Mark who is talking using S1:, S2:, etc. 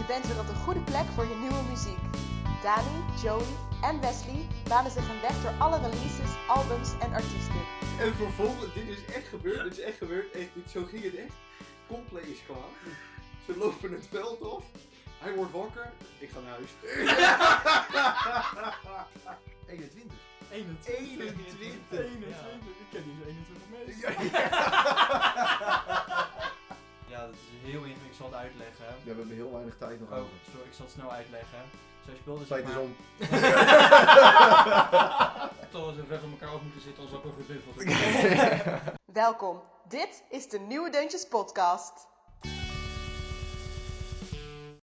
S1: Je bent weer op de goede plek voor je nieuwe muziek. Dani, Joey en Wesley banen zich een weg door alle releases, albums en artiesten.
S2: En vervolgens, dit is echt gebeurd, dit is echt gebeurd, echt, dit, zo ging het echt. Coldplay is klaar. Ze lopen het veld af. Hij wordt wakker. Ik ga naar huis. 21.
S3: 21.
S2: 21.
S3: 21. Ik ken niet 21 mensen.
S2: Ja,
S3: Ja, dat is heel ingewikkeld. Ik zal het uitleggen.
S2: we hebben heel weinig tijd nog
S3: Oh,
S2: over.
S3: sorry, ik zal het snel uitleggen. Zij speelde zeg
S2: Tijd is
S3: maar...
S2: om.
S4: Terwijl ze ver van elkaar af moeten zitten, als ook een geduffeld.
S1: Welkom, dit is de Nieuwe Deuntjes Podcast.